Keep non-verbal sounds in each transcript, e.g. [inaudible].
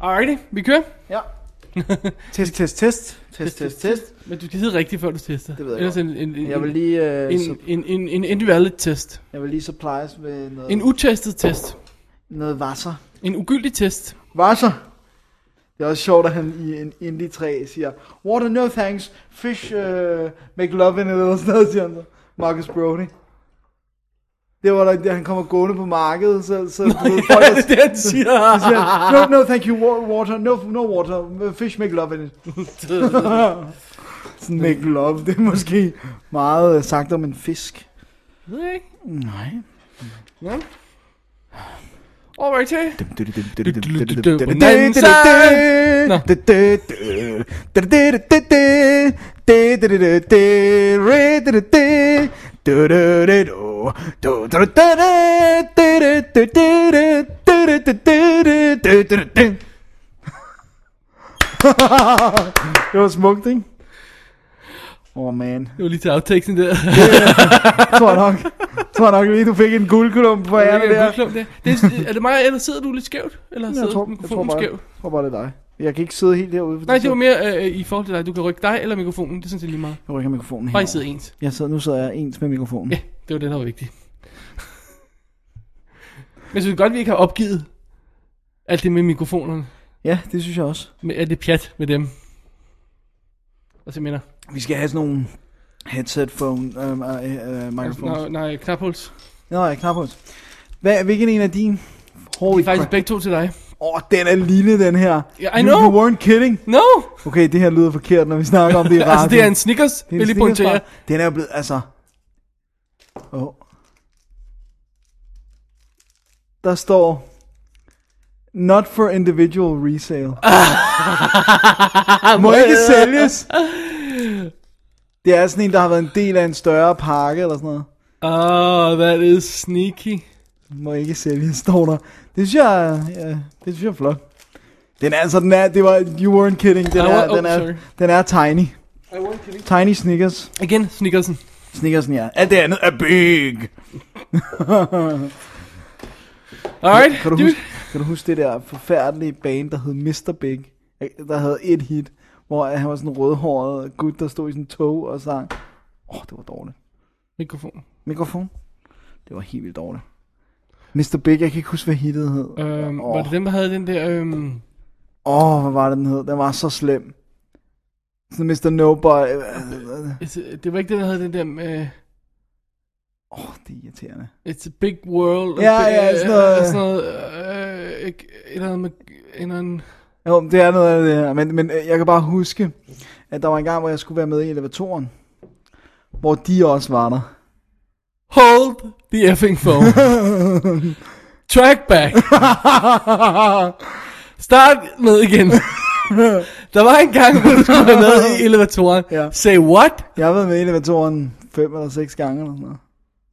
Alrighty, vi kører. Ja. [laughs] Test, test, test. Test, test, test. Men du skal sidde rigtigt, før du tester. Det ved jeg Ellers godt. en, en, en, Jeg vil lige, øh, en, sup- en, en, en individuality test. jeg vil lige supplies med noget, En utestet test. noget vasser. En ugyldig [laughs] test. Vasser? Det er også sjovt, at han i en Indie 3 siger, Water, no thanks, fish, uh, make love in it, eller sådan noget, siger han så. Marcus Brody. Det var da, da han kommer gående på markedet, så, så Nå, ved, folk, Ja, det er der det, han siger. [laughs] [laughs] siger, no, no, thank you, wa- water, no, no water, fish, make [laughs] love in it. sådan make love, det er måske meget øh, sagt om en fisk. Ved jeg ikke. Nej. Ja. Alrighty. Nå. Det var smukt, ikke? Åh, oh, man. Det var lige til afteksten der. Tror nok. Tror nok lige, du fik en guldklump på Ja, ærnet [laughs] det der. er, det er, er det mig, eller sidder du lidt skævt? Eller Jeg sidder tror- jeg mikrofonen tror bare- skævt? Jeg tror bare, det er dig. Jeg kan ikke sidde helt herude. for Nej, så- det var mere øh, i forhold til dig. Du kan rykke dig eller mikrofonen. Det synes jeg lige meget. Jeg rykker mikrofonen Bare I herover. sidder ens. Jeg sidder, nu sidder jeg ens med mikrofonen. Ja, det var det, der var [laughs] vigtigt. Men jeg synes godt, vi ikke har opgivet alt det med mikrofonerne. Ja, det synes jeg også. Med alt det pjat med dem. Og så mener Vi skal have sådan nogle headset phone, øh, øh, øh, microphones. Nej, nej, knaphuls. Nå, jeg knap hos. Hvad, hvilken en af dine? Det Holy er faktisk crap. begge to til dig. Åh, oh, den er lille, den her. Ja, I You- know. You, weren't kidding. No! Okay, det her lyder forkert, når vi snakker [laughs] om det i radioen. altså, det er en Snickers, Det er vil jeg lige pointere. Snickers-bar. Den er blevet, altså... Åh. Oh. Der står... Not for individual [laughs] resale. Må ikke sælges. Det er sådan en, der har været en del af en større pakke eller sådan noget. Oh, that is sneaky. Må ikke sælges, står der. Det synes jeg, ja, det synes jeg er flot. Den er altså, den er, det var, you weren't kidding. Den I er, wa- oh, den er, sorry. den er tiny. I want kidding. Tiny Snickers. Igen, Snickersen. Snickersen, ja. Alt det andet er big. Alright, Kan du, dude. huske, kan du huske det der forfærdelige band, der hed Mr. Big? Der havde et hit, hvor han var sådan en rødhåret gut, der stod i sådan en tog og sang. Åh, oh, det var dårligt. Mikrofon. Mikrofon? Det var helt vildt dårligt. Mr. Big, jeg kan ikke huske, hvad hittet hed. Åh, Øhm, Åh. Var det dem, der havde den der... Øhm... oh. oh, hvad var det, den hed? Den var så slem. Sådan Mr. Nobody. Øh, It's, det var ikke den, der havde den der... Øh... Åh, oh, det er irriterende. It's a big world. Ja, øh, ja, sådan noget. øh, Sådan noget øh, ikke- et eller andet med... En eller anden... Jo, det er noget af det her, men, men øh, jeg kan bare huske, at der var en gang, hvor jeg skulle være med i elevatoren, hvor de også var der. [laughs] Hold the effing phone. Track back. Start med igen. Der var en gang, hvor du skulle være [laughs] med i elevatoren. Ja. Say what? Jeg har været med i elevatoren fem eller seks gange eller sådan noget.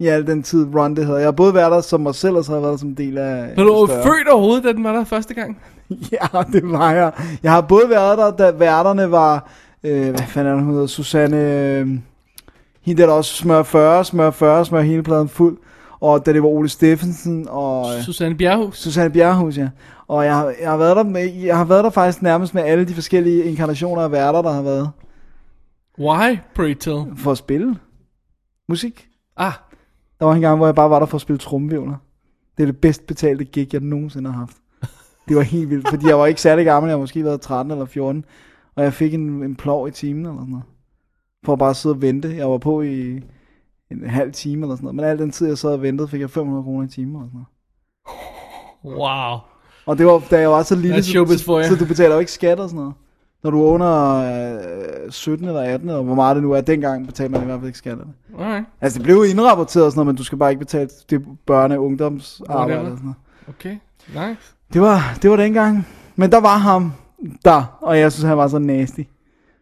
I al den tid Run det hedder. Jeg har både været der som mig selv, og så har jeg været der som del af... Var du større- født overhovedet, da den var der første gang? [laughs] Ja, det var jeg. Jeg har både været der, da værterne var... Øh, hvad fanden er hun hedder? Susanne... Øh, hende der, der også smør 40, smør 40, smør hele pladen fuld. Og da det var Ole Steffensen og... Øh, Susanne Bjerghus. Susanne Bjerrehus, ja. Og jeg, har- jeg, har været der med, jeg har været der faktisk nærmest med alle de forskellige inkarnationer af værter, der har været. Why, pray tell? For at spille musik. Ah, Der var en gang, hvor jeg bare var der for at spille tromvivler. Det er det bedst betalte gig, jeg nogensinde har haft. Det var helt vildt, fordi jeg var ikke særlig gammel. Jeg har måske været 13 eller 14. Og jeg fik en, en plov i timen eller sådan noget. For at bare sidde og vente. Jeg var på i en halv time eller sådan noget. Men al den tid, jeg sad og ventede, fik jeg 500 kroner i timen eller sådan noget. wow. Og det var, da jeg var så lille, That's showbiz så, for jer. så, du betaler jo ikke skat og sådan noget. Når du er under øh, 17 eller 18, eller hvor meget det nu er, dengang betaler man i hvert fald ikke skat af det. Alright, Altså, det blev jo indrapporteret og sådan noget, men du skal bare ikke betale det børne- og ungdomsarbejde Whatever. og sådan noget. okay. Nice. Det var, det var dengang. Men der var ham der, og jeg synes, han var så nasty. Med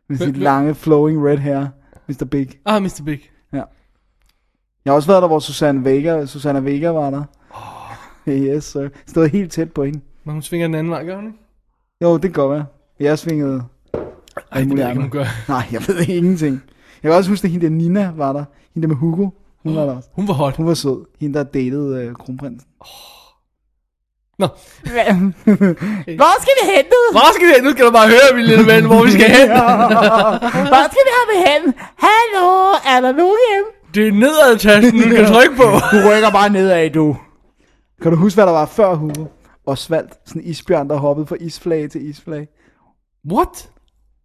Hvem- sit hvem? lange, flowing red hair, Mr. Big. Ah, Mr. Big. Jeg har også været der, hvor Susanne Vega, Susanne Vega var der. Oh. [laughs] Yes, sir. Stod helt tæt på hende. Men hun svinger den anden vej, gør hun ikke? Jo, det kan godt være. Jeg svingede Ej, det ved jeg ikke, om muligt hun gør. Nej, jeg ved [laughs] ingenting. Jeg kan også huske, at hende der Nina var der. Hende der med Hugo. Hun var der også. Hun var hot. Hun var sød. Hende der datede øh, kronprinsen. Nå, [laughs] Hvor skal vi hen nu? hvor skal vi hen? Nu skal du bare høre, min lille ven, hvor vi [laughs] skal hen. Hvor skal vi have hen? Hallo, er der nogen hjemme? Det er nedadtasten, du kan trykke på. Du rykker bare nedad, du. Kan du huske, hvad der var før Hugo? Og svalt. Sådan en isbjørn, der hoppede fra isflage til isflage. What?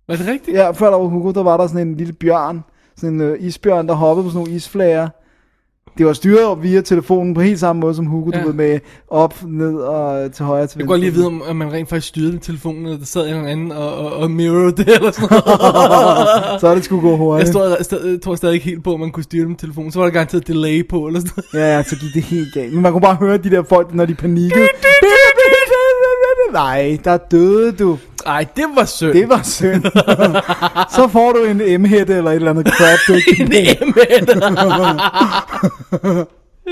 Var det rigtigt? Ja, før der var Hugo, der var der sådan en lille bjørn. Sådan en øh, isbjørn, der hoppede på sådan nogle isflager. Det var styret via telefonen på helt samme måde som Hugo, ja. Ja. du ved med op, ned og øh, til højre til Jeg går lige venstre. vide, om om man rent faktisk styrede med telefonen, eller der sad en eller anden og, og, og mirrorede det, eller sådan noget. [laughs] Så er det sgu gå hurtigt. Jeg stod, stod, tror stadig ikke helt på, at man kunne styre det med telefonen. Så var der garanteret delay på, eller sådan noget. Ja, ja, så gik det helt galt. Men man kunne bare høre de der folk, når de [laughs] panikkede. Nej, der døde du. Ej, det var sødt. [laughs] Det var synd. så får du en m eller et eller andet crap. Du ikke kan en lide. M1. [laughs] [laughs]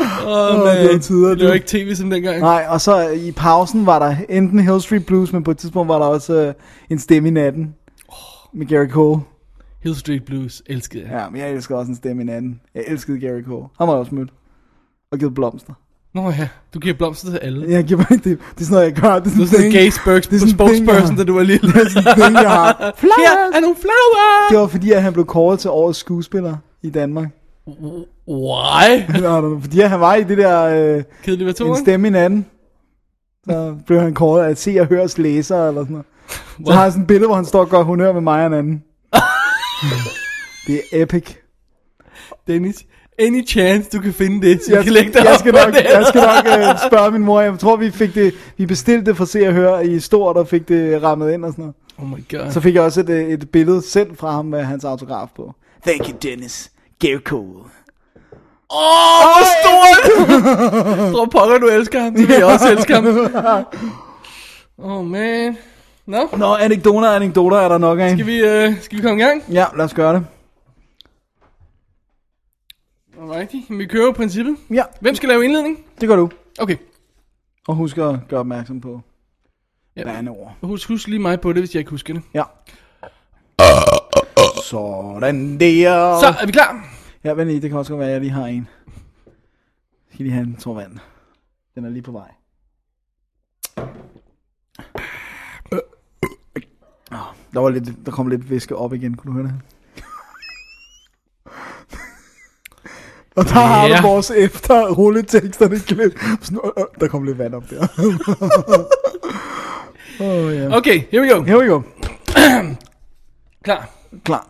Åh, Åh, det var man. tider, Det var du. ikke tv som dengang. Nej, og så i pausen var der enten Hill Street Blues, men på et tidspunkt var der også øh, en stemme i natten. Med Gary Cole. Hill Street Blues elskede jeg. Ja, men jeg elskede også en stemme i natten. Jeg elskede Gary Cole. Han var jeg også mødt. Og givet blomster. Nå ja, du giver blomster til alle. Jeg giver det, det er sådan noget, jeg gør. Det er Du sådan, er sådan en gay spokes- det er sådan en ting, spokesperson, jeg- da du var lille. Det er sådan en ting, jeg har. Her er nogle flower! Det var fordi, at han blev kåret til årets skuespiller i Danmark. Why? Nå, nå, nå, fordi han var i det der øh, Kedelig version. en stemme i natten. Så blev han kåret af se og høres læser eller sådan noget. Så har han sådan et billede, hvor han står og gør honør med mig og [laughs] en anden. det er epic. Dennis, any chance du kan finde det, så jeg, Jeg, kan lægge dig jeg op skal på nok, det. jeg skal nok øh, spørge min mor. Jeg tror, vi fik det, vi bestilte det fra se og høre i stort og fik det rammet ind og sådan noget. Oh my god. Så fik jeg også et, øh, et billede sendt fra ham med hans autograf på. Thank you, Dennis. Gary Cole. Åh, hvor stort! Tror pokker, du elsker ham. Det vil jeg [laughs] også elske ham. Oh man. Nå, Nå, anekdoter, anekdoter er der nok af. skal vi, øh, skal vi komme i gang? Ja, lad os gøre det. Alrighty, Jamen, vi kører jo princippet. Ja, Hvem skal lave indledning? det gør du. Okay, Og husk at gøre opmærksom på Ja. bandeord. husk, husk lige mig på det, hvis jeg ikke husker det. Ja. Sådan der. Så er vi klar. Ja, vent lige, det kan også godt være, at jeg lige har en. Jeg skal lige have en tår vand. Den er lige på vej. Åh, Der, var lidt, der kom lidt væske op igen, kunne du høre det? Og der har Ja. du vores efter rulletekster, det klip. Sådan, øh, øh, der kom lidt vand op der. oh, ja. Okay, here we go. Here we go. Klar. Klar.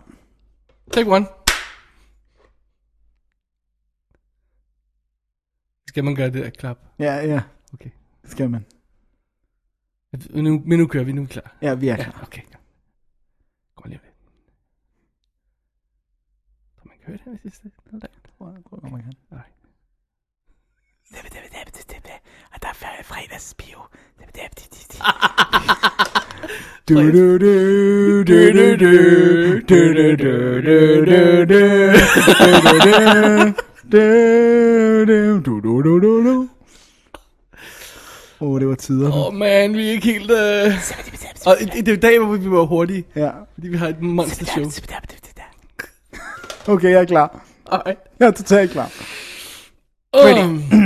Take one. Skal man gøre det der klap? Ja, ja. Okay. Det skal man. Nu, men nu kører vi, nu er vi klar. Ja, vi er Ja, klar. okay. Kom lige med. Kan man høre det, hvis det er noget der? Oh my God. Nej. Og der er fredagsbio. Du, du, du, du, du, du, du, du, du, du, du, du, du, du, du, du, du, du, du. Åh, oh, det var tider. Åh oh, man, vi er ikke helt... Øh... Og det, det er jo dag, hvor vi var hurtige, Ja, fordi vi har et monster show. okay, jeg er klar. Alright. Jeg er totalt klar. Um,